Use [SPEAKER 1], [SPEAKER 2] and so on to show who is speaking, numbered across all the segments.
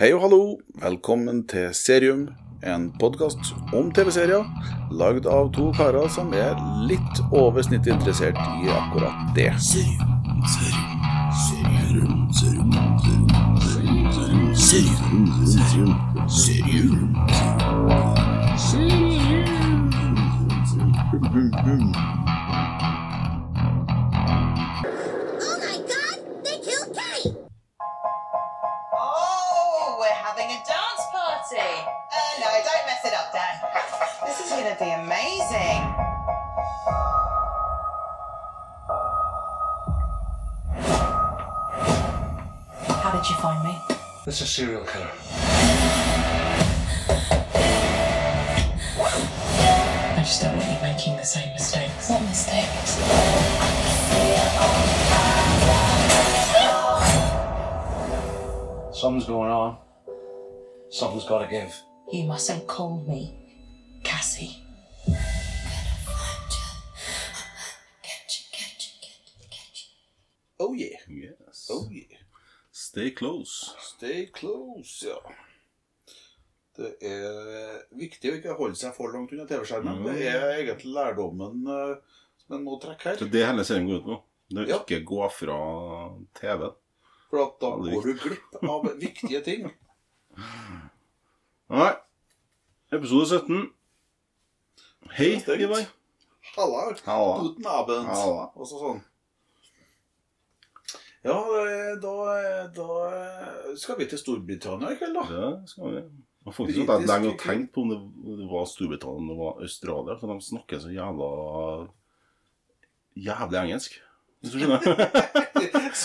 [SPEAKER 1] Hei og hallo, velkommen til Serium, en podkast om TV-serier lagd av to karer som er litt over snittet interessert i akkurat det.
[SPEAKER 2] Oh my god, they killed Kate!
[SPEAKER 3] Oh, we're having a dance party. Uh, no, don't mess it up, Dan. This is going to be amazing. How did you find me?
[SPEAKER 4] It's a serial killer.
[SPEAKER 5] I just don't want you making the same mistakes. What mistakes?
[SPEAKER 4] Something's going on. Something's got to give.
[SPEAKER 5] You mustn't call me Cassie.
[SPEAKER 1] Oh yeah. Yes. Oh yeah.
[SPEAKER 6] Stay close.
[SPEAKER 1] Stay close, ja. Det er viktig å ikke holde seg for langt unna TV-skjermen.
[SPEAKER 6] Mm.
[SPEAKER 1] Det er egentlig lærdommen eh, som en må trekke her.
[SPEAKER 6] Det er det hele serien går ut på. Det er
[SPEAKER 1] Ja.
[SPEAKER 6] ikke gå fra TV.
[SPEAKER 1] For at da
[SPEAKER 6] Ja, det er
[SPEAKER 1] går du glipp av viktige ting.
[SPEAKER 6] Nei. Episode 17. Hei,
[SPEAKER 1] Det er stengt.
[SPEAKER 6] Ivar.
[SPEAKER 1] Halla.
[SPEAKER 6] Halla.
[SPEAKER 1] Guten Abend.
[SPEAKER 6] Halla.
[SPEAKER 1] Og så sånn. Ja, eh, da, eh, da eh, skal vi til Storbritannia i kveld, da.
[SPEAKER 6] Det skal vi. sånn Jeg har faktisk satt
[SPEAKER 1] Oh. Britisk
[SPEAKER 6] lenge og
[SPEAKER 1] kultur.
[SPEAKER 6] tenkt på om det, om det var Storbritannia om det var Australia, for de snakker så jævla jævlig engelsk. Hvis du skjønner?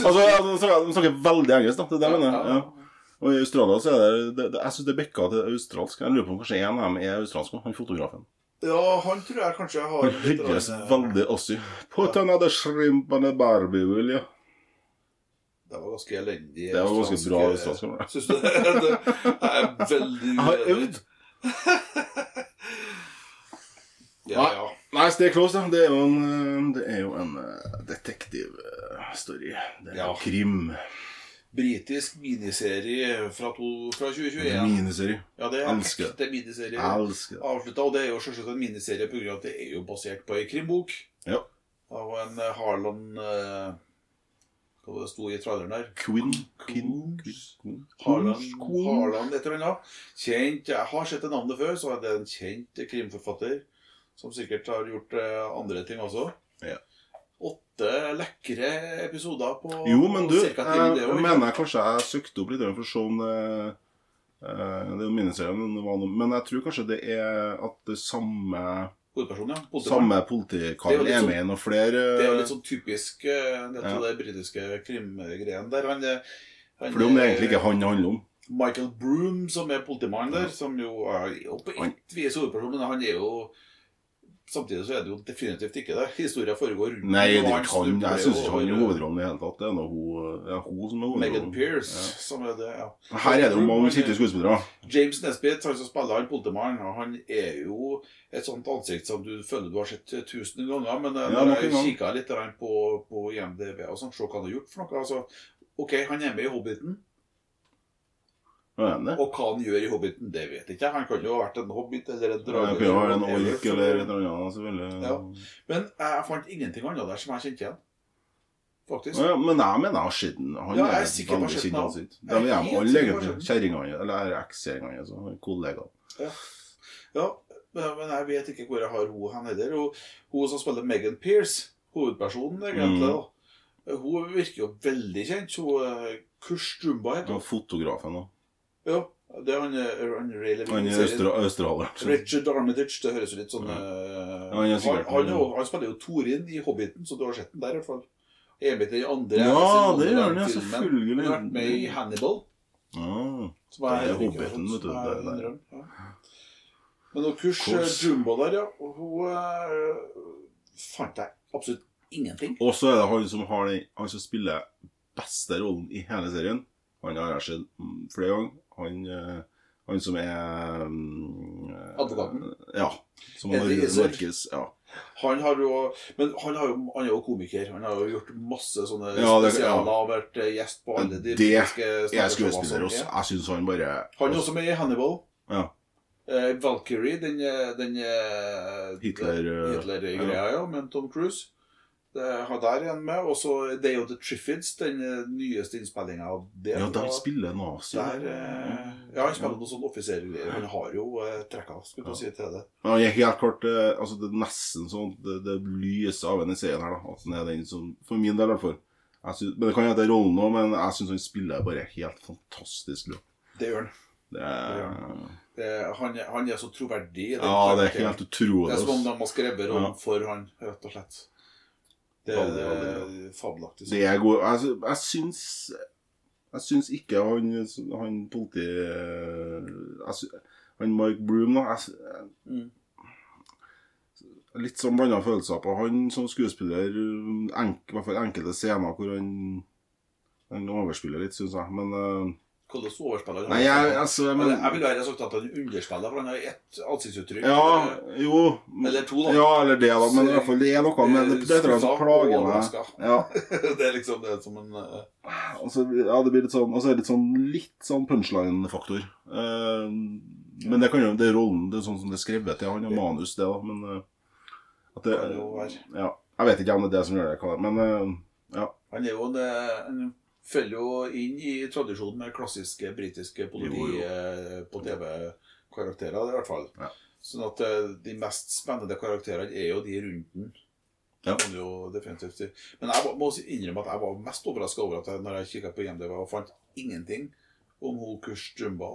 [SPEAKER 6] altså, altså, de snakker- de snakker veldig engelsk, da. Det er det jeg mener. Ja. Og i Australia så er det, det, det Jeg syns det bikka til australsk. Jeg lurer på om kanskje en av dem er australsk også, han fotografen.
[SPEAKER 1] ja, han tror jeg kanskje jeg har
[SPEAKER 6] Han høres
[SPEAKER 1] rann, eh,
[SPEAKER 6] veldig aussie. Put another shrimp on a barbie, will you?
[SPEAKER 1] Det var ganske elendig.
[SPEAKER 6] Det var ganske bra
[SPEAKER 1] australsk.
[SPEAKER 6] australsk.
[SPEAKER 1] Syns du det? Jeg er veldig
[SPEAKER 6] Jeg har øvd.
[SPEAKER 1] Ja, ja.
[SPEAKER 6] Nei, Stay Close, da. Det er jo en, eh, det er jo en eh, detektivstory. Det er
[SPEAKER 1] Ja.
[SPEAKER 6] en krim.
[SPEAKER 1] Britisk miniserie fra, to, fra 2021.
[SPEAKER 6] Miniserie.
[SPEAKER 1] Ja, det er en
[SPEAKER 6] Elsker.
[SPEAKER 1] ekte miniserie.
[SPEAKER 6] Elsker. det.
[SPEAKER 1] Avslutta, og det er jo selvsagt en miniserie på grunn av at det er jo basert på ei krimbok.
[SPEAKER 6] Ja.
[SPEAKER 1] Av en eh, Harlan eh, Hva var det sto i traileren der?
[SPEAKER 6] Quinn.
[SPEAKER 1] Quinn.
[SPEAKER 6] Quinn. Quinn.
[SPEAKER 1] Harlan,
[SPEAKER 6] Quinn.
[SPEAKER 1] Harlan et eller annet. Kjent, jeg har sett det navnet før, så er det en kjent krimforfatter. Som sikkert har gjort eh, andre ting også.
[SPEAKER 6] Ja.
[SPEAKER 1] Åtte lekre episoder på
[SPEAKER 6] Jo, men du,
[SPEAKER 1] på
[SPEAKER 6] jeg,
[SPEAKER 1] cirka ti minutter,
[SPEAKER 6] jeg
[SPEAKER 1] ikke?
[SPEAKER 6] mener kanskje jeg søkte opp litt for å se om det eh, Det er jo miniserie, men det var noe- men jeg tror kanskje det er at det samme
[SPEAKER 1] Hovedpersonen, ja. Politimann.
[SPEAKER 6] Samme
[SPEAKER 1] Det er jo
[SPEAKER 6] politikaren
[SPEAKER 1] litt
[SPEAKER 6] er
[SPEAKER 1] sånn-
[SPEAKER 6] med i noen flere
[SPEAKER 1] Det er jo litt sånn typisk eh, dette
[SPEAKER 6] Ja.
[SPEAKER 1] det britiske krimgreien der. Han, eh, han,
[SPEAKER 6] For det er jo egentlig ikke han det handler om.
[SPEAKER 1] Michael Broom, som er politimannen der, som jo er jo på
[SPEAKER 6] Han-
[SPEAKER 1] ett vis hovedperson, men han er jo Samtidig så er det jo definitivt ikke det. Historia foregår rundt
[SPEAKER 6] Nei, det
[SPEAKER 1] og
[SPEAKER 6] er
[SPEAKER 1] han
[SPEAKER 6] ikke han.
[SPEAKER 1] snubler
[SPEAKER 6] Jeg syns ikke han er
[SPEAKER 1] over
[SPEAKER 6] hovedrollen i det hele tatt. Det er nå hun, det er hun som er
[SPEAKER 1] Megan
[SPEAKER 6] hovedrollen.
[SPEAKER 1] Pearce, som er det, ja.
[SPEAKER 6] Her er det jo mange skitne skuespillere.
[SPEAKER 1] James Nesbitt, han som spiller han politimannen, og han er jo et sånt ansikt som du føler du har sett tusen ganger. Men eh,
[SPEAKER 6] Ja,
[SPEAKER 1] når
[SPEAKER 6] nok en
[SPEAKER 1] jeg
[SPEAKER 6] gang.
[SPEAKER 1] kikka litt der på, på IMDv og sånn, se hva han har gjort for noe altså, OK, han er med i Hobbiten,
[SPEAKER 6] Hva er det?
[SPEAKER 1] og hva han gjør i Hobbiten, det vet jeg ikke. Han kan jo ha vært en hobbit eller en drage.
[SPEAKER 6] Det kan jo
[SPEAKER 1] eller
[SPEAKER 6] være en
[SPEAKER 1] whatever,
[SPEAKER 6] ork
[SPEAKER 1] så-
[SPEAKER 6] eller et eller annet. selvfølgelig.
[SPEAKER 1] Ja. Men jeg fant ingenting annet der som jeg kjente igjen, faktisk.
[SPEAKER 6] Ja, men jeg mener jeg har sett den. Han
[SPEAKER 1] Ja,
[SPEAKER 6] er
[SPEAKER 1] jeg er
[SPEAKER 6] et
[SPEAKER 1] sikker på
[SPEAKER 6] veldig
[SPEAKER 1] skitten
[SPEAKER 6] kjent
[SPEAKER 1] av-
[SPEAKER 6] ansikt.
[SPEAKER 1] Jeg
[SPEAKER 6] De
[SPEAKER 1] er
[SPEAKER 6] er
[SPEAKER 1] helt
[SPEAKER 6] med alle,
[SPEAKER 1] sikker på
[SPEAKER 6] egentlig. Kjerringa hans, eller ekskjerringa hans, altså? kollegaen.
[SPEAKER 1] Ja, men men jeg vet ikke hvor jeg har hun hen heller. Hun, hun som spiller Megan Pearce, hovedpersonen egentlig,
[SPEAKER 6] Mm.
[SPEAKER 1] da. Hun virker jo veldig kjent. Hun eh, Kurs Jumba heter hun.
[SPEAKER 6] Og fotografen òg.
[SPEAKER 1] Ja, det er han, eh, han Ray Levine
[SPEAKER 6] Han
[SPEAKER 1] i
[SPEAKER 6] er
[SPEAKER 1] serien.
[SPEAKER 6] østra- australier.
[SPEAKER 1] Richard Armitage, det høres jo litt sånn
[SPEAKER 6] Ja.
[SPEAKER 1] eh,
[SPEAKER 6] Ja, han
[SPEAKER 1] han,
[SPEAKER 6] er sikkert-
[SPEAKER 1] han, er jo- han spiller jo Torin i Hobbiten, så du har sett den der i hvert fall. Er med til den andre
[SPEAKER 6] Ja, det gjør han, ja,
[SPEAKER 1] Simone-filmen.
[SPEAKER 6] selvfølgelig.
[SPEAKER 1] Han har vært med i Hannibal.
[SPEAKER 6] Ja.
[SPEAKER 1] Som jeg
[SPEAKER 6] Det er
[SPEAKER 1] heller ikke har
[SPEAKER 6] Hobbiten,
[SPEAKER 1] hørt,
[SPEAKER 6] vet du,
[SPEAKER 1] som jeg
[SPEAKER 6] det der.
[SPEAKER 1] innrømmer, ja. Men noe kurs,
[SPEAKER 6] Kurs.
[SPEAKER 1] eh, Jumbo der, ja. og Hun eh, fant jeg absolutt ingenting.
[SPEAKER 6] Og så er det han som har den Han som spiller beste rollen i hele serien. Han har jeg sett mm, flere ganger. Han, eh, han som er mm, eh,
[SPEAKER 1] Advokaten?
[SPEAKER 6] Ja. Som
[SPEAKER 1] Er
[SPEAKER 6] har
[SPEAKER 1] det Izzard?
[SPEAKER 6] narkis. Ja.
[SPEAKER 1] Han har jo, men han, har jo, han er jo komiker. Han har jo gjort masse sånne
[SPEAKER 6] Ja, det-
[SPEAKER 1] spesialer.
[SPEAKER 6] ja.
[SPEAKER 1] Har vært eh, gjest på alle de
[SPEAKER 6] Det
[SPEAKER 1] britiske
[SPEAKER 6] Jeg er
[SPEAKER 1] standardshowene
[SPEAKER 6] skuespiller
[SPEAKER 1] som
[SPEAKER 6] også.
[SPEAKER 1] er.
[SPEAKER 6] Jeg syns han bare
[SPEAKER 1] Han er også med i Hannibal.
[SPEAKER 6] Ja.
[SPEAKER 1] Eh, Valkyrie, den, eh, den eh,
[SPEAKER 6] Hitler, eh,
[SPEAKER 1] Hitler-greia, ja. med Tom Cruise. Det, han der er han med. Og så Day of the Triffids, den eh, nyeste innspillinga av det.
[SPEAKER 6] Ja, der
[SPEAKER 1] Og
[SPEAKER 6] spiller nazi.
[SPEAKER 1] der, eh, ja, han spiller noe sånn offisergreier. Han har jo eh, trekka, skulle
[SPEAKER 6] Ja.
[SPEAKER 1] du si, til det.
[SPEAKER 6] Men han er helt klart eh, altså Det er nesten sånn at det, det lyser av henne i serien her, da. At han er den som For min del, i hvert fall. Jeg synes- men det kan hende det er rollen òg, men jeg syns han spiller bare helt fantastisk bra.
[SPEAKER 1] Det gjør han. Det
[SPEAKER 6] Det er,
[SPEAKER 1] gjør Det- han, er- han er så troverdig. i den
[SPEAKER 6] ja, det er
[SPEAKER 1] karakteren.
[SPEAKER 6] helt utrolig.
[SPEAKER 1] Det er sånn som om
[SPEAKER 6] altså.
[SPEAKER 1] de har skrevet om
[SPEAKER 6] Ja.
[SPEAKER 1] for han, rett og slett. Det er
[SPEAKER 6] Veldig, veldig
[SPEAKER 1] eh, fabelaktig.
[SPEAKER 6] Det er god Jeg, sy- jeg syns Jeg syns ikke han, han politi... Jeg sy, han Mark Broom, da jeg, sy-
[SPEAKER 1] Mm.
[SPEAKER 6] Litt sånn blanda følelser på han som skuespiller. Enk, I hvert fall enkelte scener hvor han han overspiller litt, syns jeg. Men eh,
[SPEAKER 1] Hvordan overspiller han?
[SPEAKER 6] Nei, jeg, altså
[SPEAKER 1] Men
[SPEAKER 6] men,
[SPEAKER 1] jeg ville heller sagt at han underspiller, for han har ett ansiktsuttrykk.
[SPEAKER 6] Ja,
[SPEAKER 1] eh,
[SPEAKER 6] jo
[SPEAKER 1] Eller to, da.
[SPEAKER 6] Ja, eller det, da. Men i hvert fall det er noe med det, det, tror jeg som
[SPEAKER 1] Skuffa og
[SPEAKER 6] plager meg.
[SPEAKER 1] overrasket.
[SPEAKER 6] Ja,
[SPEAKER 1] Eh, det er liksom det som en eh,
[SPEAKER 6] Og så, ja, det blir litt sånn, og så er det litt sånn, litt sånn punchline-faktor. Eh, men det kan jo, det er rollen, det er sånn som det er skrevet til han og manus, det da. Men eh, at det,
[SPEAKER 1] Kan jo være.
[SPEAKER 6] ja, Jeg vet ikke om det er det som gjør det, hva- men eh, ja.
[SPEAKER 1] Han er jo en, eh, han følger jo inn i tradisjonen med klassiske britiske politi
[SPEAKER 6] Jo, jo.
[SPEAKER 1] eh, på TV-karakterer, i hvert fall.
[SPEAKER 6] Ja.
[SPEAKER 1] Sånn at eh, de mest spennende karakterene er jo de rundt den. Det
[SPEAKER 6] Ja.
[SPEAKER 1] kan du jo definitivt si. Men jeg må også innrømme at jeg var mest overraska over at jeg, når jeg kikka på IMDv og fant ingenting om hun Kush Jumba.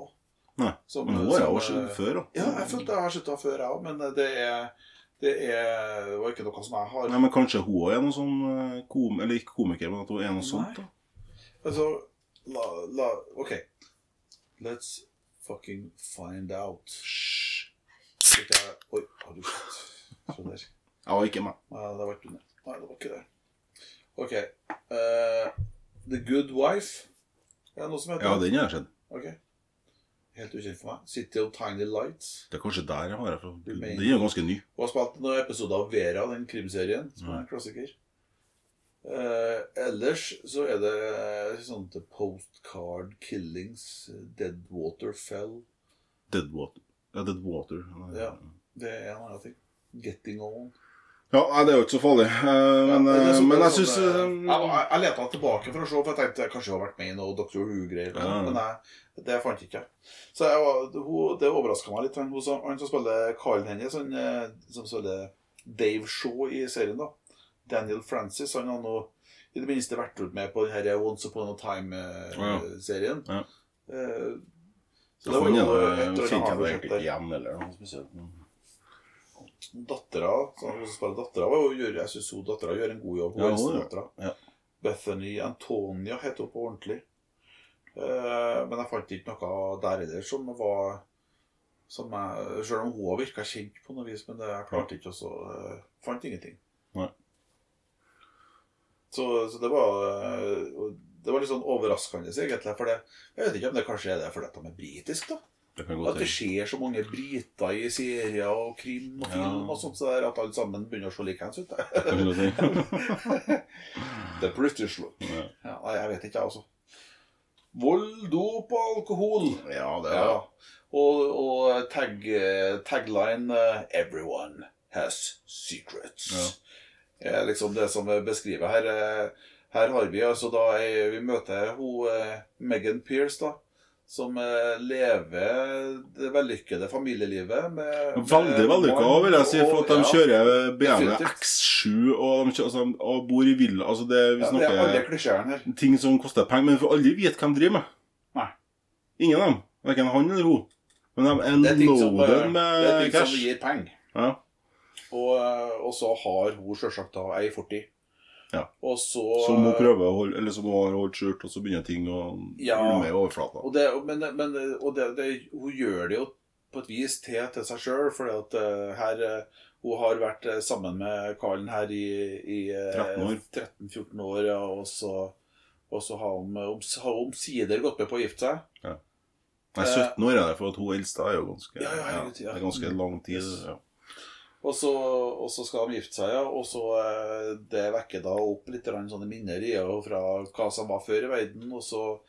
[SPEAKER 6] Nei,
[SPEAKER 1] Som-
[SPEAKER 6] Men nå er jeg jo
[SPEAKER 1] som,
[SPEAKER 6] siden
[SPEAKER 1] eh,
[SPEAKER 6] før, da.
[SPEAKER 1] Ja, jeg følte jeg har sett henne før, jeg òg, men eh, det er, det er det var ikke noe som jeg har
[SPEAKER 6] Nei, men kanskje hun også er noe sånn eh, kom, Eller ikke komiker, men at hun er noe sånt. da
[SPEAKER 1] Altså, la, la Ok. Let's fucking find out. Hysj. Sitter jeg- Oi, har du fått sånn der?
[SPEAKER 6] Ja, ikke meg.
[SPEAKER 1] Nei, det var ikke det. Nei, det var ikke det. Ok. eh, The Good Wife. Er det noe som heter
[SPEAKER 6] Ja, den har jeg sett.
[SPEAKER 1] Ok. Helt ukjent for meg. City of Tiny Lights.
[SPEAKER 6] Det er kanskje der jeg har det fra.
[SPEAKER 1] Du mener-
[SPEAKER 6] Den er jo ganske ny.
[SPEAKER 1] Hun har spilt noen episoder av Vera, den krimserien, som er en klassiker. Eh, ellers så er det sånn til Postcard Killings, Deadwater Fell
[SPEAKER 6] Deadwater. Ja, Deadwater.
[SPEAKER 1] Ja. Det er en annen ting. Getting On.
[SPEAKER 6] Ja, nei, det er jo ikke så farlig. Eh, men,
[SPEAKER 1] Ja,
[SPEAKER 6] eh,
[SPEAKER 1] så-
[SPEAKER 6] men jeg
[SPEAKER 1] sånn,
[SPEAKER 6] syns
[SPEAKER 1] eh, Jeg, jeg, jeg leta tilbake for å se, for jeg tenkte kanskje hun har vært med i noe Dr. Who-greier.
[SPEAKER 6] Ja.
[SPEAKER 1] Men nei, det fant jeg ikke. Så jeg, var- hun, det overraska meg litt. Han, hun, som- han som spiller Carlen hennes, han, eh, som spiller Dave Shaw i serien, da. Daniel Francis, han har nå i det minste vært ut med på den her Once Upon a
[SPEAKER 6] Ja.
[SPEAKER 1] Time-serien.
[SPEAKER 6] Ja.
[SPEAKER 1] Eh, så eh, det var jo et
[SPEAKER 6] Han
[SPEAKER 1] eller annet
[SPEAKER 6] kjente jeg
[SPEAKER 1] prosjekt
[SPEAKER 6] egentlig
[SPEAKER 1] der.
[SPEAKER 6] ikke igjen eller noe spesielt. men-
[SPEAKER 1] Dattera, så hun som spiller dattera, var jo- gjør- jeg synes hun dattera gjør en god jobb. Hun
[SPEAKER 6] Ja,
[SPEAKER 1] ja,
[SPEAKER 6] hun, ja.
[SPEAKER 1] dattera.
[SPEAKER 6] Ja.
[SPEAKER 1] Bethany Antonia heter hun på ordentlig. Eh, men jeg fant ikke noe der heller som var som jeg, Selv om hun har virka kjent på noe vis, men det, jeg klarte ikke også eh, Fant ingenting.
[SPEAKER 6] Nei.
[SPEAKER 1] Så, så det var eh, og Det var litt sånn overraskende, egentlig. For det, jeg vet ikke om det kanskje er det fordi at de er britiske, da.
[SPEAKER 6] Det kan
[SPEAKER 1] At
[SPEAKER 6] godt
[SPEAKER 1] det
[SPEAKER 6] hende.
[SPEAKER 1] skjer så mange briter i serier og krim og film
[SPEAKER 6] Ja.
[SPEAKER 1] og sånt, så der, at alle sammen begynner å se likeens ut.
[SPEAKER 6] Det kan godt hende.
[SPEAKER 1] The British look.
[SPEAKER 6] Ja.
[SPEAKER 1] Ja, nei, jeg vet ikke, jeg, altså. Vold, dop og alkohol.
[SPEAKER 6] Ja, det
[SPEAKER 1] Ja.
[SPEAKER 6] er
[SPEAKER 1] Og, og tag, tagline eh, 'Everyone has secrets'. Er liksom det som jeg beskriver her. eh, Her har vi altså da ei, Vi møter hun eh, Megan Pierce, da. Som eh, lever det vellykkede familielivet med
[SPEAKER 6] Veldig vellykka òg, vil jeg si. For at de kjører BMW
[SPEAKER 1] Eh, Definitivt.
[SPEAKER 6] X7 og, de kjører, altså, de- og bor i villa Altså, det er- vi
[SPEAKER 1] ja, Det er alle
[SPEAKER 6] snakker
[SPEAKER 1] klisjeene her.
[SPEAKER 6] ting som koster penger, men vi får aldri vite hvem de driver med.
[SPEAKER 1] Nei.
[SPEAKER 6] Ingen av dem. Verken han eller hun. Men de
[SPEAKER 1] Det
[SPEAKER 6] er
[SPEAKER 1] er ting som, eh,
[SPEAKER 6] loaded
[SPEAKER 1] det er ting
[SPEAKER 6] med
[SPEAKER 1] som
[SPEAKER 6] cash.
[SPEAKER 1] gir penger.
[SPEAKER 6] Ja.
[SPEAKER 1] Og, eh, og så har hun sjølsagt da ei fortid.
[SPEAKER 6] Ja.
[SPEAKER 1] Og så
[SPEAKER 6] Som hun prøver å holde, eller som hun har holdt skjult, og så begynner ting å
[SPEAKER 1] Ja.
[SPEAKER 6] ulme i overflata.
[SPEAKER 1] Og, det, men, men, og det, det, hun gjør det jo på et vis til, til seg sjøl, for her eh, Hun har vært eh, sammen med Karlen her i, i
[SPEAKER 6] 13 år.
[SPEAKER 1] 13-14 år, ja, og så, og så har hun om- har hun omsider gått med på å gifte seg.
[SPEAKER 6] Nei, 17 år er det, for at hun eldste er jo ganske
[SPEAKER 1] Eh, Ja, ja, herregud, ja.
[SPEAKER 6] Det er ganske lang tid.
[SPEAKER 1] Yes.
[SPEAKER 6] Ja.
[SPEAKER 1] Og så, og så skal de gifte seg, ja. Og så eh, det vekker da opp litt grann sånne minner i henne fra hva som var før i verden. Og så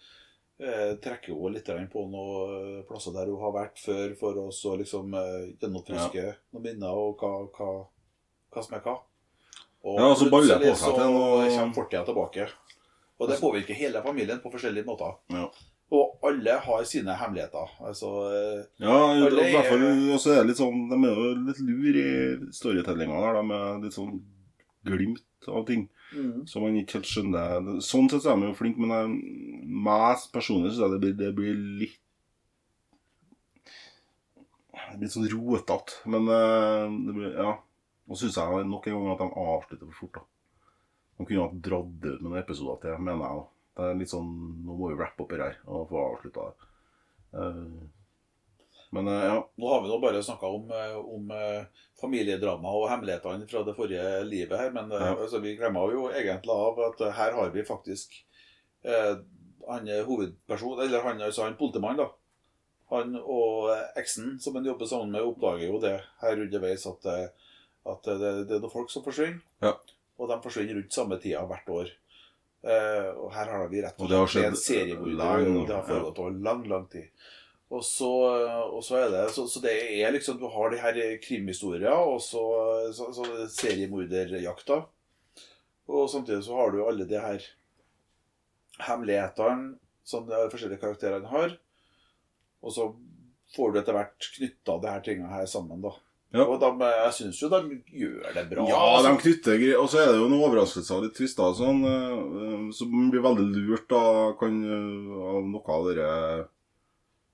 [SPEAKER 1] eh, trekker hun litt grann på noen eh, plasser der hun har vært før, for å så liksom eh, gjennomfriske noen minner og hva, hva, hva som er hva. Og
[SPEAKER 6] Ja, og så baller
[SPEAKER 1] plutselig
[SPEAKER 6] på seg
[SPEAKER 1] så
[SPEAKER 6] til noe- Altså-
[SPEAKER 1] kommer fortida tilbake. Og det påvirker hele familien på forskjellige måter.
[SPEAKER 6] Ja.
[SPEAKER 1] Og alle har sine hemmeligheter. Altså eh,
[SPEAKER 6] Ja, i
[SPEAKER 1] det
[SPEAKER 6] hvert fall
[SPEAKER 1] er- Mm.
[SPEAKER 6] også er det litt sånn De er jo litt lur i storytellinga der, da, med litt sånn glimt av ting
[SPEAKER 1] mm.
[SPEAKER 6] som man ikke helt skjønner. Sånn sett så er de jo flinke, men jeg- meg personlig syns jeg det blir, det blir litt det blir Litt sånn rotete. Men eh, det blir, ja. Og så syns jeg nok en gang at de avslutter for fort. da. De kunne ha dratt det ut med noen episoder til, mener jeg. da. Det er litt sånn, Nå må vi wrappe opp det her og få avslutta det. Eh, men eh, ja.
[SPEAKER 1] Nå har vi nå bare snakka om, eh, om eh, familiedrama og hemmelighetene fra det forrige livet her, men eh,
[SPEAKER 6] Ja.
[SPEAKER 1] altså, vi glemmer jo egentlig av at eh, her har vi faktisk eh, han er hovedperson, eller han, altså, han politimannen, da. Han og eh, eksen som han jobber sammen med, oppdager jo det her underveis at, eh, at eh, det, det er noen folk som forsvinner.
[SPEAKER 6] Ja.
[SPEAKER 1] Og de forsvinner rundt samme tida hvert år. Eh, og her har vi rett
[SPEAKER 6] Og det har
[SPEAKER 1] slett en
[SPEAKER 6] skjedd eh,
[SPEAKER 1] seriemorder.
[SPEAKER 6] lang-
[SPEAKER 1] Det har foregått over lang, lang tid. Og så, eh, og så er det så, så det er liksom Du har de her krimhistoria og så, så, så seriemorderjakta. Og samtidig så har du alle de her hemmelighetene som de forskjellige karakterene har. Og så får du etter hvert knytta de her tinga her sammen, da.
[SPEAKER 6] Ja.
[SPEAKER 1] Og de, jeg syns jo de gjør det bra. Altså-
[SPEAKER 6] Ja, de knytter greier. Og så er det jo noen overraskelser og litt twister og sånn, eh, eh, så man blir veldig lurt da, kan, eh, av noe av dere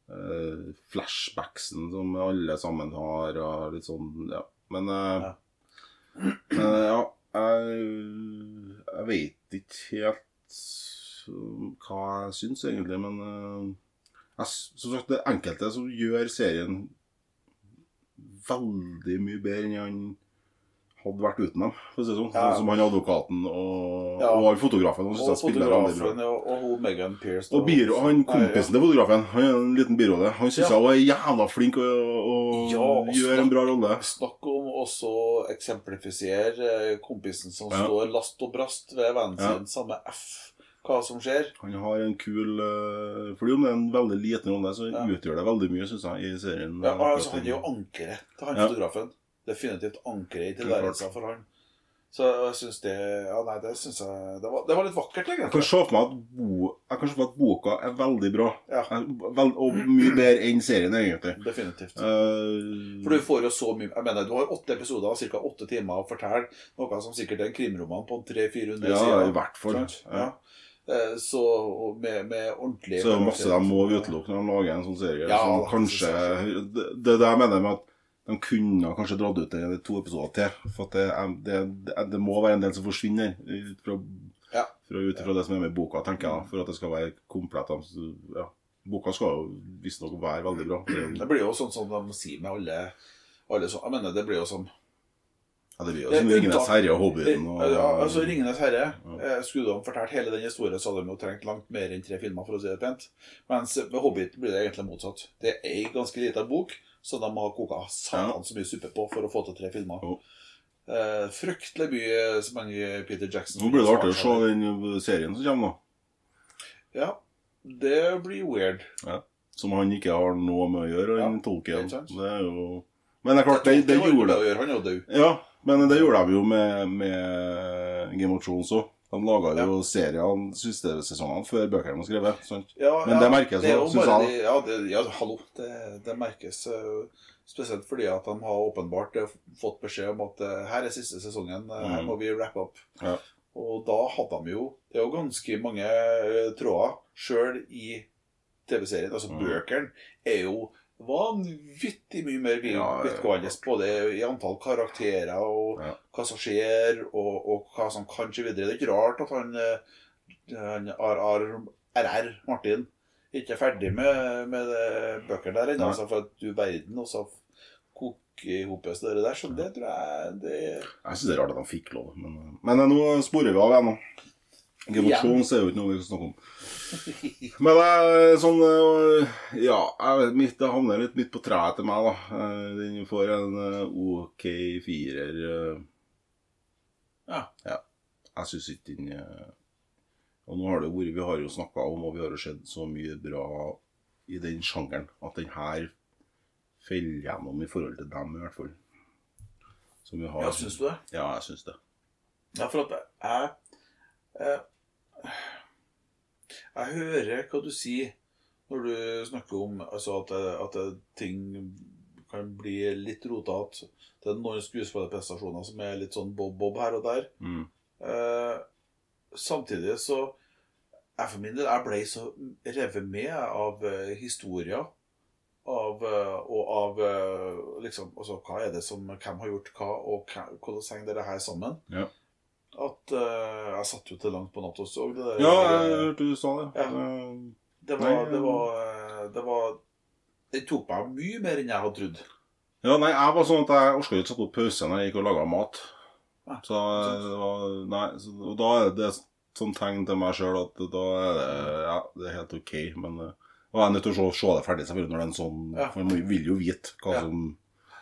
[SPEAKER 6] eh, flashbacksen som alle sammen har, og litt sånn, ja. Men eh, men, eh, ja, jeg, jeg vet ikke helt eh, hva jeg syns egentlig, men eh, jeg, s- som sagt, det er enkelte som gjør serien veldig mye bedre enn han hadde vært uten dem. For å si det sånn.
[SPEAKER 1] Ja.
[SPEAKER 6] Sånn som han advokaten og,
[SPEAKER 1] Ja.
[SPEAKER 6] og han fotografen. Han
[SPEAKER 1] og
[SPEAKER 6] synes jeg spiller veldig bra.
[SPEAKER 1] fotografen og, og hun Megan Pierce. da.
[SPEAKER 6] Og biro, han kompisen
[SPEAKER 1] Nei,
[SPEAKER 6] til fotografen, han er en liten birolle. Han syns
[SPEAKER 1] Ja.
[SPEAKER 6] jeg var jævla flink og, og
[SPEAKER 1] Ja, altså. og
[SPEAKER 6] gjør en bra rolle.
[SPEAKER 1] ja. Snakk om også eksemplifisere eh, kompisen som
[SPEAKER 6] Ja.
[SPEAKER 1] står last og brast ved vennen
[SPEAKER 6] Ja.
[SPEAKER 1] sin, samme F hva som skjer.
[SPEAKER 6] Han har en kul eh, Fordi om det er en veldig liten rolle, så
[SPEAKER 1] Ja.
[SPEAKER 6] utgjør det veldig mye, syns jeg, i serien.
[SPEAKER 1] Ja,
[SPEAKER 6] Akkurat
[SPEAKER 1] altså, han er jo
[SPEAKER 6] den-
[SPEAKER 1] ankeret til han
[SPEAKER 6] Ja.
[SPEAKER 1] fotografen. Definitivt ankeret i
[SPEAKER 6] er klart.
[SPEAKER 1] tilværelsen for han. Så jeg syns det Ja, nei, det syns jeg det var, det var litt vakkert,
[SPEAKER 6] jeg kan
[SPEAKER 1] egentlig.
[SPEAKER 6] se for meg at, bo, jeg kan se for meg at boka er veldig bra,
[SPEAKER 1] Ja.
[SPEAKER 6] Er vel- og mye bedre enn serien, egentlig.
[SPEAKER 1] Definitivt.
[SPEAKER 6] Eh,
[SPEAKER 1] For du får jo så mye Jeg mener, du har åtte episoder og ca. åtte timer å fortelle noe som sikkert er en krimroman på 300-400
[SPEAKER 6] ja,
[SPEAKER 1] sider.
[SPEAKER 6] i hvert fall.
[SPEAKER 1] sant?
[SPEAKER 6] Ja.
[SPEAKER 1] Ja. Eh, Så og med, med ordentlig
[SPEAKER 6] Så det er masse de må utelukke når de lager en sånn serie.
[SPEAKER 1] Ja,
[SPEAKER 6] som
[SPEAKER 1] det
[SPEAKER 6] kanskje, det, det er det jeg mener med at de kunne kanskje dratt ut det i to episoder til. For at det, er- det, det, det må være en del som forsvinner ut fra,
[SPEAKER 1] Ja.
[SPEAKER 6] fra, ut ifra det som er med i boka, tenker jeg. For at det skal være komplett. de s- Ja. Boka skal jo visstnok være veldig bra. Det, er jo-
[SPEAKER 1] Det blir jo sånn som de sier med alle, alle så, Jeg mener, det blir jo som
[SPEAKER 6] ja, det blir jo
[SPEAKER 1] Eh,
[SPEAKER 6] som
[SPEAKER 1] unntak-
[SPEAKER 6] Ringenes herre og Hobbiten. Og,
[SPEAKER 1] Ja, altså 'Ringenes herre'
[SPEAKER 6] Ja.
[SPEAKER 1] eh, Skulle de fortalt hele den historien, så hadde de jo trengt langt mer enn tre filmer. for å si det pent. Mens med 'Hobbit' blir det egentlig motsatt. Det er ei ganske lita bok som de har koka satan så mye suppe på for å få til tre filmer.
[SPEAKER 6] Jo.
[SPEAKER 1] Eh, fryktelig mye så mange Peter Jackson
[SPEAKER 6] Nå blir det artig å se den eh, serien som kommer nå.
[SPEAKER 1] Ja, det blir weird.
[SPEAKER 6] Som han ikke har noe med å gjøre, han
[SPEAKER 1] Ja,
[SPEAKER 6] Tolkien.
[SPEAKER 1] helt sant.
[SPEAKER 6] Det er jo... Men det er klart, det, det
[SPEAKER 1] har ikke
[SPEAKER 6] gjorde det.
[SPEAKER 1] noe å gjøre, Han er jo død.
[SPEAKER 6] Ja, men det gjorde de jo med, med eh, Game of Thrones òg. De laga jo seriene siste sesongene før bøkene var skrevet. Sant?
[SPEAKER 1] Ja,
[SPEAKER 6] Men
[SPEAKER 1] ja,
[SPEAKER 6] det merkes
[SPEAKER 1] er jo
[SPEAKER 6] nå, synes
[SPEAKER 1] bare
[SPEAKER 6] jeg,
[SPEAKER 1] de- Ja, det, ja, hallo. Det, det merkes øh, spesielt fordi at de har åpenbart øh, fått beskjed om at øh, her er siste sesongen, øh, her
[SPEAKER 6] Mm.
[SPEAKER 1] må vi wrap up.
[SPEAKER 6] Ja.
[SPEAKER 1] Og da hadde de jo Det er jo ganske mange øh, tråder sjøl i TV-serien. Altså
[SPEAKER 6] Mm.
[SPEAKER 1] bøkene er jo vanvittig mye mer vi-
[SPEAKER 6] Ja, ja, ja.
[SPEAKER 1] vidtgående, både i antall karakterer og
[SPEAKER 6] Ja.
[SPEAKER 1] hva som skjer, og, og hva som kan skje videre. Det er ikke rart at han, øh, han RR RR Martin ikke er ferdig med, med det bøkene der ennå.
[SPEAKER 6] Nei.
[SPEAKER 1] Altså, for at du verden, og så koker i hopes det der. Så det tror jeg det
[SPEAKER 6] eh, Jeg syns det er rart at de fikk lov, men, men nå sporer vi av igjen. nå. Game of
[SPEAKER 1] Ja.
[SPEAKER 6] Thrones er jo ikke noe vi kan snakke om. Men jeg, sånn øh, Ja, jeg vet, mitt, det havner litt midt på treet til meg, da. Eh, Den får en øh, OK firer. øh.
[SPEAKER 1] Ja.
[SPEAKER 6] Jeg syns ikke den øh, Og nå har det jo vært Vi har jo snakka om, og vi har jo sett så mye bra i den sjangeren, at den her faller gjennom i forhold til dem, i hvert fall. Som vi har.
[SPEAKER 1] Ja, syns du det?
[SPEAKER 6] Ja, jeg syns det.
[SPEAKER 1] Ja, for at jeg Jeg, jeg hører hva du sier når du snakker om altså at, at ting kan bli litt rotete. Det er noen skuespillerprestasjoner som er litt sånn bob-bob her og der.
[SPEAKER 6] Mm.
[SPEAKER 1] Eh, samtidig så jeg for min del jeg ble så revet med av eh, historier. Av, eh, og av eh, liksom, altså, hva er det som, hvem har gjort hva, og hva, hvordan henger dette her sammen?
[SPEAKER 6] Ja.
[SPEAKER 1] At eh, jeg satt jo til langt på natt også. og Det,
[SPEAKER 6] Ja, jeg hørte du sa det.
[SPEAKER 1] Ja.
[SPEAKER 6] Eh,
[SPEAKER 1] det
[SPEAKER 6] Nei,
[SPEAKER 1] var, det var, eh, det var Det tok meg mye mer enn jeg hadde trodd.
[SPEAKER 6] Ja, nei, jeg var sånn at jeg orka ikke å sette opp pause når jeg gikk og laga mat.
[SPEAKER 1] Nei,
[SPEAKER 6] Så, eh, det var, nei, så, og da er det sånn tegn til meg sjøl at da er det, ja, det er helt OK, men eh, Og jeg er nødt til å se, se det ferdig, selvfølgelig, når det er en sånn
[SPEAKER 1] Ja.
[SPEAKER 6] For man vil jo vite hva
[SPEAKER 1] Ja.
[SPEAKER 6] som,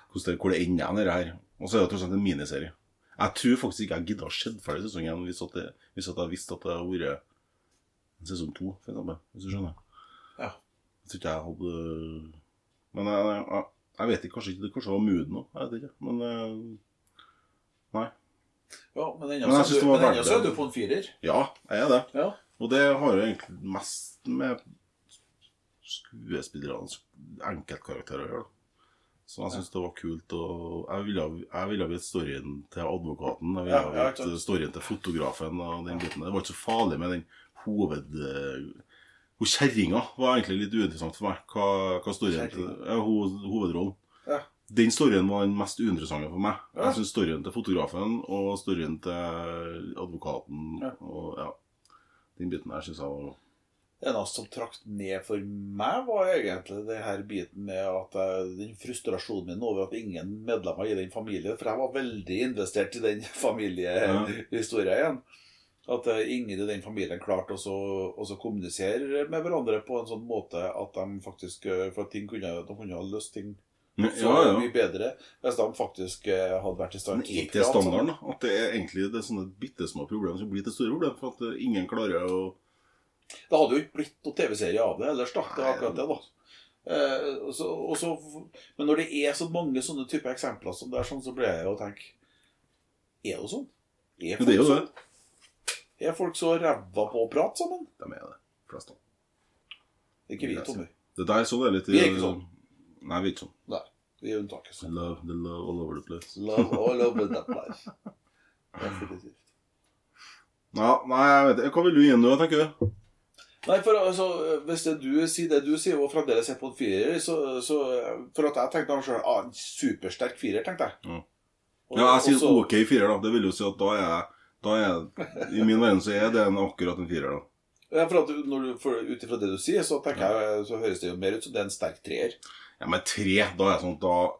[SPEAKER 6] hvordan det, hvor det ender hen, dette her. Og så er det tross alt en miniserie. Jeg tror faktisk ikke jeg gidda å se ferdig sesongen hvis, at det, hvis at jeg visste at det hadde vært sesong to, for eksempel. Hvis du skjønner?
[SPEAKER 1] Ja.
[SPEAKER 6] Jeg tror ikke jeg hadde Men eh, jeg, jeg, jeg, jeg vet ikke, kanskje ikke det kanskje var mooden nå. Jeg vet ikke. Men eh, Nei.
[SPEAKER 1] Ja, men ennå
[SPEAKER 6] Men jeg
[SPEAKER 1] så er
[SPEAKER 6] synes det
[SPEAKER 1] du-
[SPEAKER 6] var
[SPEAKER 1] men
[SPEAKER 6] verdt
[SPEAKER 1] ennå så er
[SPEAKER 6] det.
[SPEAKER 1] du på en firer.
[SPEAKER 6] Ja, jeg er det.
[SPEAKER 1] Ja.
[SPEAKER 6] Og det har jo egentlig mest med skuespillernes enkeltkarakterer å gjøre. da. Så jeg syns det var kult. Og jeg ville, jeg ville vite storyen til advokaten. Jeg ville
[SPEAKER 1] Ja, ja,
[SPEAKER 6] vite
[SPEAKER 1] klart.
[SPEAKER 6] storyen til fotografen og den biten. der. Det var ikke så farlig med den hoved... eh, Hun kjerringa var egentlig litt uinteressant for meg. Hva, hva storyen til
[SPEAKER 1] Kjerringa?
[SPEAKER 6] ja, ho- Hovedrollen.
[SPEAKER 1] Ja.
[SPEAKER 6] Den storyen var den mest uinteressante for meg.
[SPEAKER 1] Ja.
[SPEAKER 6] Jeg syns storyen til fotografen og storyen til advokaten
[SPEAKER 1] Ja.
[SPEAKER 6] og ja, den biten der syns jeg var
[SPEAKER 1] Det eneste som trakk ned for meg, var egentlig det her biten med at jeg, den frustrasjonen min over at ingen medlemmer i den familien For jeg var veldig investert i den Eh, familiehistoria igjen. At eh, ingen i den familien klarte også å så kommunisere med hverandre på en sånn måte at de faktisk eh, For at ting kunne, de kunne ha løst ting
[SPEAKER 6] Ja,
[SPEAKER 1] så
[SPEAKER 6] ja.
[SPEAKER 1] mye bedre hvis de faktisk eh, hadde vært i
[SPEAKER 6] Men
[SPEAKER 1] stand
[SPEAKER 6] er
[SPEAKER 1] å
[SPEAKER 6] ikke det
[SPEAKER 1] prate sammen.
[SPEAKER 6] standarden? da? At det er egentlig det er sånne bitte små problemer som blir til store problemer? For at eh, ingen klarer å
[SPEAKER 1] Det hadde jo ikke blitt noen TV-serie av det ellers, da. Det var akkurat det, da. Eh, og så, og så, men når det er så mange sånne typer eksempler som det er sånn, så blir jeg jo å tenke Er det sånn? Er
[SPEAKER 6] Men det er jo
[SPEAKER 1] folk sånn? Er folk så ræva på å prate sammen?
[SPEAKER 6] De er det, flest av dem.
[SPEAKER 1] Det er ikke vi, Tommy.
[SPEAKER 6] Det der sånn er litt
[SPEAKER 1] Vi er ikke sånn.
[SPEAKER 6] Nei, vi er ikke sånn.
[SPEAKER 1] Nei. Vi er unntaket.
[SPEAKER 6] The love, the love all over the place.
[SPEAKER 1] Love all over that life. Definitivt.
[SPEAKER 6] Ja, nei, jeg vet ikke. Hva vil du gi nå, tenker du?
[SPEAKER 1] Nei, for altså, hvis det du sier det du sier, og fremdeles er på en firer, så, så For at jeg tenkte av meg sjøl ah, en supersterk firer, tenkte jeg.
[SPEAKER 6] Mm.
[SPEAKER 1] Og-
[SPEAKER 6] Ja, jeg
[SPEAKER 1] og
[SPEAKER 6] sier
[SPEAKER 1] så-
[SPEAKER 6] OK firer, da. Det vil jo si at da er jeg da er, I min verden så er det en, akkurat en firer, da.
[SPEAKER 1] Ja, for at du- når du- for Ut ifra det du sier, så tenker jeg Så høres det jo mer ut som det er en sterk treer.
[SPEAKER 6] Ja, men tre, da er jeg sånn at da,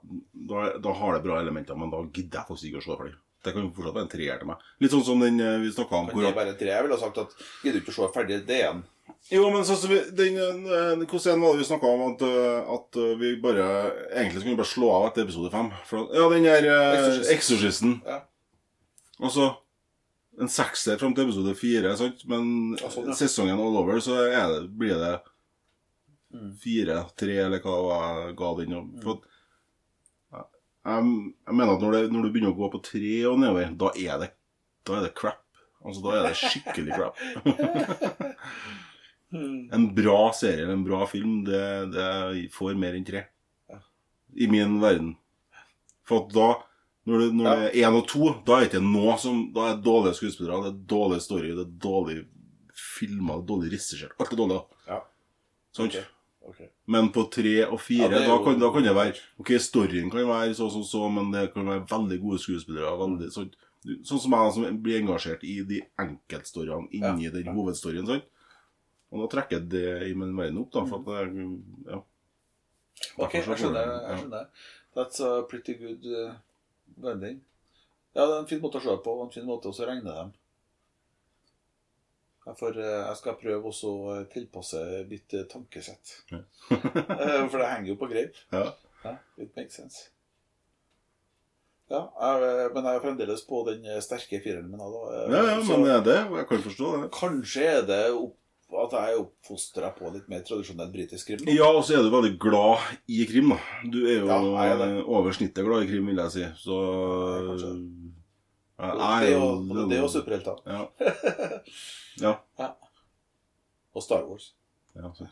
[SPEAKER 6] da, da har det bra elementer, men da gidder jeg faktisk ikke å se det ferdig. Det kan jo fortsatt være en treer til meg. Litt sånn som den eh, vi snakka om.
[SPEAKER 1] Men
[SPEAKER 6] hvor
[SPEAKER 1] det
[SPEAKER 6] at-
[SPEAKER 1] er bare en treer. Jeg ville ha sagt at gidder du ikke å se ferdig det igjen?
[SPEAKER 6] Jo, men sånn som vi, den, eh, hvordan var det vi snakka om at, eh, at eh, vi bare Egentlig skulle vi bare slå av etter episode fem. For, at- ja, den der eh,
[SPEAKER 1] Exorcisten.
[SPEAKER 6] Exorcisten.
[SPEAKER 1] Ja.
[SPEAKER 6] Og så en sekser fram til episode fire, sant? men
[SPEAKER 1] Ja, sånn, ja.
[SPEAKER 6] sesongen all over, så er det, blir det
[SPEAKER 1] Mm.
[SPEAKER 6] fire, tre, eller hva det var jeg ga den. og- For, at- jeg, jeg mener at når, det, når du begynner å gå på tre og nedover, da er det, da er det crap. Altså, da er det skikkelig crap. en bra serie eller en bra film, det, det får mer enn tre. I min verden. For at da, når det, når det er én og to, da er det ikke noe som Da er det dårlige skuespillere, det er dårlig story, det er dårlig filmer, dårlig regissert. Alt er dårlig, da.
[SPEAKER 1] Ja.
[SPEAKER 6] Sant?
[SPEAKER 1] Ok. Ok.
[SPEAKER 6] Men på tre og fire,
[SPEAKER 1] Ja, det er
[SPEAKER 6] da,
[SPEAKER 1] jo-
[SPEAKER 6] kan, da kan det være Ok, storyen kan være så så, så, men det kan være veldig gode skuespillere. Veldig, sånn- sånn som jeg som blir engasjert i de enkeltstoryene inni
[SPEAKER 1] Ja,
[SPEAKER 6] den
[SPEAKER 1] ja.
[SPEAKER 6] hovedstoryen. Sånn. Og da trekker jeg det i min verden opp, da. For at jeg,
[SPEAKER 1] Mm.
[SPEAKER 6] ja.
[SPEAKER 1] Ok, jeg
[SPEAKER 6] Derfor så får
[SPEAKER 1] skjønner.
[SPEAKER 6] du-
[SPEAKER 1] jeg skjønner That's a pretty good uh, vending. Ja, det er en fin måte å se på, og en fin måte også å regne dem. Jeg får, eh, jeg skal prøve også å uh, tilpasse mitt eh, tankesett. Eh, For det henger jo på greip.
[SPEAKER 6] Ja.
[SPEAKER 1] Ja, it makes sense. Ja, jeg, uh, men jeg er fremdeles på den uh, sterke fireren min. da, eh,
[SPEAKER 6] Ja, ja,
[SPEAKER 1] så
[SPEAKER 6] men det, det, jeg kan forstå det.
[SPEAKER 1] Kanskje er det opp, at jeg er oppfostra på litt mer tradisjonell britisk krim.
[SPEAKER 6] Ja, og så er du veldig glad i krim, da. Du er jo
[SPEAKER 1] Ja, jeg er
[SPEAKER 6] eh, over snittet glad i krim, vil jeg si. Så
[SPEAKER 1] kanskje.
[SPEAKER 6] Ja,
[SPEAKER 1] Det
[SPEAKER 6] jeg
[SPEAKER 1] er jo, det er jo superhelter.
[SPEAKER 6] Ja. ja.
[SPEAKER 1] Og Star Wars.
[SPEAKER 6] ja så.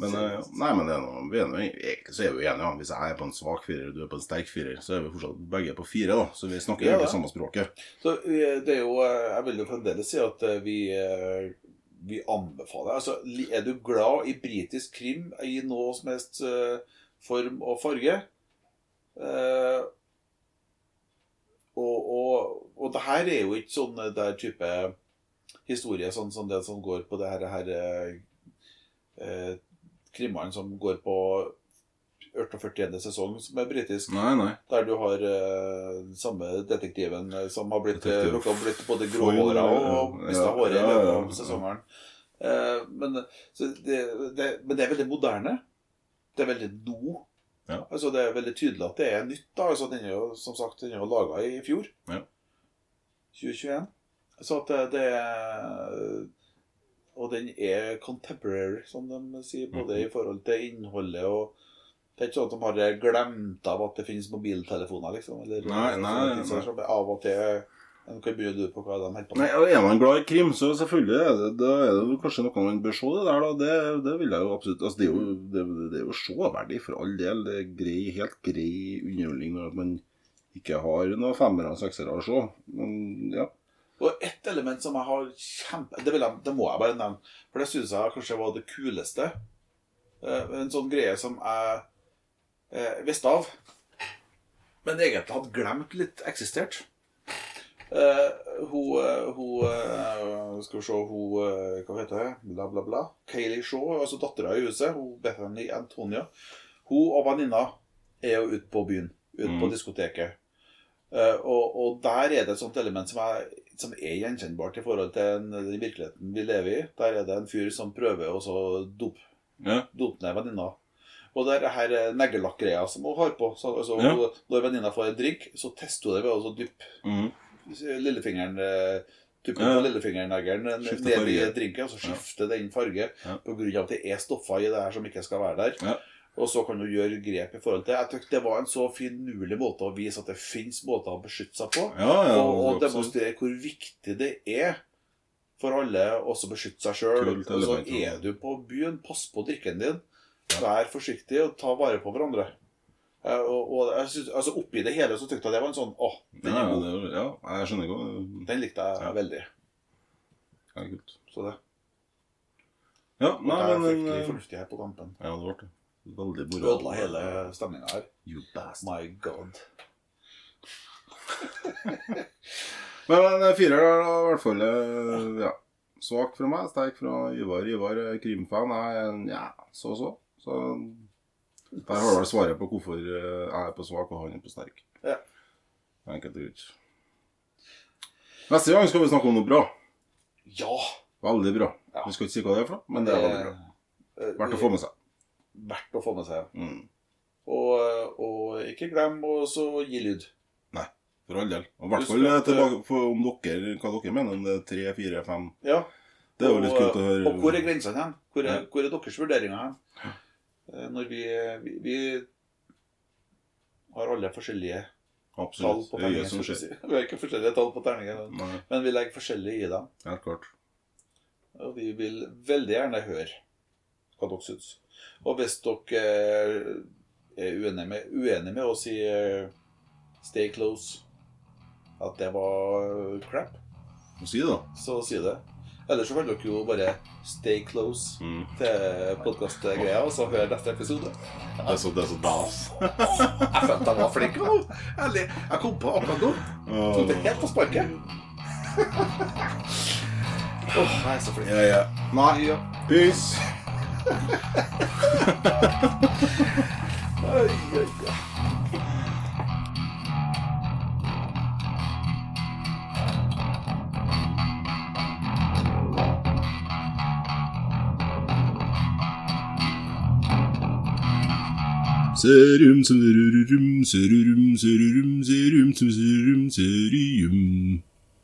[SPEAKER 6] Men, eh, ja. nei, men det er noe, vi er noe, egentlig så er vi jo enige. ja. Hvis jeg er på en svak firer, du er på en sterk firer, så er vi fortsatt begge på fire, da. Så vi snakker
[SPEAKER 1] Ja,
[SPEAKER 6] egentlig
[SPEAKER 1] da.
[SPEAKER 6] samme språket.
[SPEAKER 1] Så eh, det er jo eh, Jeg vil jo fremdeles si at eh, vi eh, vi anbefaler Altså, li- er du glad i britisk krim i noe som helst eh, form og farge? Eh, og, og, og det her er jo ikke sånn eh, der type historie sånn som det som går på det her, her eh, eh, krimene som går på 48. sesong, som er britisk.
[SPEAKER 6] Nei, nei.
[SPEAKER 1] Der du har eh, samme detektiven eh, som har blitt,
[SPEAKER 6] Detektiv
[SPEAKER 1] eh, rukket opp blitt både
[SPEAKER 6] Foyle,
[SPEAKER 1] gråhåra og,
[SPEAKER 6] ja.
[SPEAKER 1] og mista
[SPEAKER 6] Ja,
[SPEAKER 1] håret i
[SPEAKER 6] ja,
[SPEAKER 1] løpet
[SPEAKER 6] ja,
[SPEAKER 1] av
[SPEAKER 6] ja.
[SPEAKER 1] sesongen. Eh, men, så det, det, men det er veldig moderne. Det er veldig nå.
[SPEAKER 6] Ja.
[SPEAKER 1] Altså, det er veldig tydelig at det er nytt. da altså, Den er jo som sagt, den er jo laga i fjor.
[SPEAKER 6] Ja.
[SPEAKER 1] 2021. Så at eh, det- det er Og den er contemporary, som de sier, både
[SPEAKER 6] Mhm.
[SPEAKER 1] i forhold til innholdet og det er ikke sånn at de har glemt av at det finnes mobiltelefoner, liksom. Eller,
[SPEAKER 6] Nei, nei,
[SPEAKER 1] sånne ting
[SPEAKER 6] nei.
[SPEAKER 1] Som sånn, av og til en kan begynne å lure på hva de holder på
[SPEAKER 6] Nei,
[SPEAKER 1] med.
[SPEAKER 6] og Er man glad i krim, så selvfølgelig er det, da er det jo kanskje noe man bør se det der, da. Det, det vil jeg jo absolutt altså, Det er jo, det, det er jo severdig for all del. Det er grei, helt grei underholdning når at man ikke har noen femmere og seksere å se. Men ja.
[SPEAKER 1] Og ett element som jeg har kjempe... Det, vil jeg, det må jeg bare nevne, for det syns jeg kanskje var det kuleste. Eh, En sånn greie som jeg eh, visste av, men egentlig hadde glemt litt eksistert. Eh, hun eh, hun eh, Skal vi se hun, eh, Hva heter hun? Bla, bla, bla. Kayleigh Shaw, altså dattera i huset, hun Bethany Antonia, hun og venninna er jo ute på byen. Ute på
[SPEAKER 6] Mm.
[SPEAKER 1] diskoteket. Eh, og, og der er det et sånt element som er, som er gjenkjennbart i forhold til en, den virkeligheten vi lever i. Der er det en fyr som prøver å så dope
[SPEAKER 6] Ja.
[SPEAKER 1] dope ned venninna. Og det er det her eh, neglelakk-greia som hun har på. Så, altså,
[SPEAKER 6] Ja.
[SPEAKER 1] hun- Når venninna får en drink, så tester hun det ved å så dyppe
[SPEAKER 6] Mm.
[SPEAKER 1] lillefingeren eh, Tuppen
[SPEAKER 6] Ja.
[SPEAKER 1] på lillefingerneglen ned
[SPEAKER 6] Skifter
[SPEAKER 1] i
[SPEAKER 6] farge.
[SPEAKER 1] drinken, og så skifter den farge
[SPEAKER 6] Ja.
[SPEAKER 1] på grunn av at det er stoffer i det her som ikke skal være der.
[SPEAKER 6] Ja.
[SPEAKER 1] Og så kan du gjøre grep i forhold til Jeg tykker det var en så finurlig måte å vise at det fins måter å beskytte seg på
[SPEAKER 6] Ja, ja,
[SPEAKER 1] og, og
[SPEAKER 6] absolutt.
[SPEAKER 1] demonstrere hvor viktig det er for alle å også beskytte seg sjøl.
[SPEAKER 6] Kult
[SPEAKER 1] Og så
[SPEAKER 6] element, ja.
[SPEAKER 1] er du på byen, pass på drikken din. Vær forsiktig og ta vare på hverandre. Eh, Og, og jeg synes, altså Oppi det hele så tykte jeg det var en sånn Å, den
[SPEAKER 6] ja,
[SPEAKER 1] er
[SPEAKER 6] ja,
[SPEAKER 1] god.
[SPEAKER 6] det, er- ja, jeg skjønner godt.
[SPEAKER 1] Den likte jeg
[SPEAKER 6] Ja.
[SPEAKER 1] veldig.
[SPEAKER 6] Ja, kult.
[SPEAKER 1] Så det,
[SPEAKER 6] Ja, nei,
[SPEAKER 1] det er
[SPEAKER 6] men
[SPEAKER 1] fryktelig
[SPEAKER 6] eh,
[SPEAKER 1] fornuftig her på tampen.
[SPEAKER 6] Ja, det ble det. Veldig moro.
[SPEAKER 1] Ødela hele stemninga her.
[SPEAKER 6] You bastard.
[SPEAKER 1] My god.
[SPEAKER 6] Men en firer er da i hvert fall eh, ja. svak fra meg, sterk fra Ivar. Ivar er krimfan. Jeg er en- ja, så så. Så der har du vel svaret på hvorfor eh, jeg er på svak og han er på sterk.
[SPEAKER 1] Ja.
[SPEAKER 6] Enkelt og greit. Neste gang skal vi snakke om noe bra.
[SPEAKER 1] Ja!
[SPEAKER 6] Veldig bra.
[SPEAKER 1] Ja.
[SPEAKER 6] Vi skal ikke si hva det er for noe, men det er veldig bra. Verdt å få med seg.
[SPEAKER 1] eh, Verdt å få med seg.
[SPEAKER 6] Mm.
[SPEAKER 1] Og, eh, og ikke glem å så gi lyd.
[SPEAKER 6] For all del. Og i hvert
[SPEAKER 1] Husk
[SPEAKER 6] fall eh,
[SPEAKER 1] at, eh,
[SPEAKER 6] tilbake for om dere, hva dere mener, om det er tre, fire, fem
[SPEAKER 1] Ja.
[SPEAKER 6] Det er jo litt
[SPEAKER 1] Og- eh,
[SPEAKER 6] kult å høre.
[SPEAKER 1] Og hvor er grensene hen? Hvor er,
[SPEAKER 6] Mm. Ja.
[SPEAKER 1] hvor er deres vurderinger hen? Eh, Når vi, vi, vi har alle forskjellige tall
[SPEAKER 6] Absolutt.
[SPEAKER 1] på
[SPEAKER 6] Det er
[SPEAKER 1] terningen.
[SPEAKER 6] øyet som
[SPEAKER 1] skulle jeg
[SPEAKER 6] skjer.
[SPEAKER 1] si. Vi har ikke forskjellige tall på terningen,
[SPEAKER 6] Nei,
[SPEAKER 1] men vi legger forskjellig i dem.
[SPEAKER 6] helt klart.
[SPEAKER 1] Og vi vil veldig gjerne høre hva dere syns. Og hvis dere eh, er uenige med, uenige med oss i eh, Stay Close, at det var crap,
[SPEAKER 6] Må si det, da.
[SPEAKER 1] så si det. Ellers så kan dere jo bare stay close
[SPEAKER 6] Mm.
[SPEAKER 1] til podkastgreia, eh, og så hør neste episode.
[SPEAKER 6] Det er så, det er så das.
[SPEAKER 1] Jeg følte jeg var flink nå. Ærlig. Jeg kom på akkurat nå. Tok det helt på sparket. Åh, jeg er så flink.
[SPEAKER 6] Ja, ja. Nei.
[SPEAKER 1] Ja.
[SPEAKER 6] Peace.
[SPEAKER 1] Oi, oi, oi.
[SPEAKER 6] Serum, serum, serum, serum, serum, serum, serum, serium.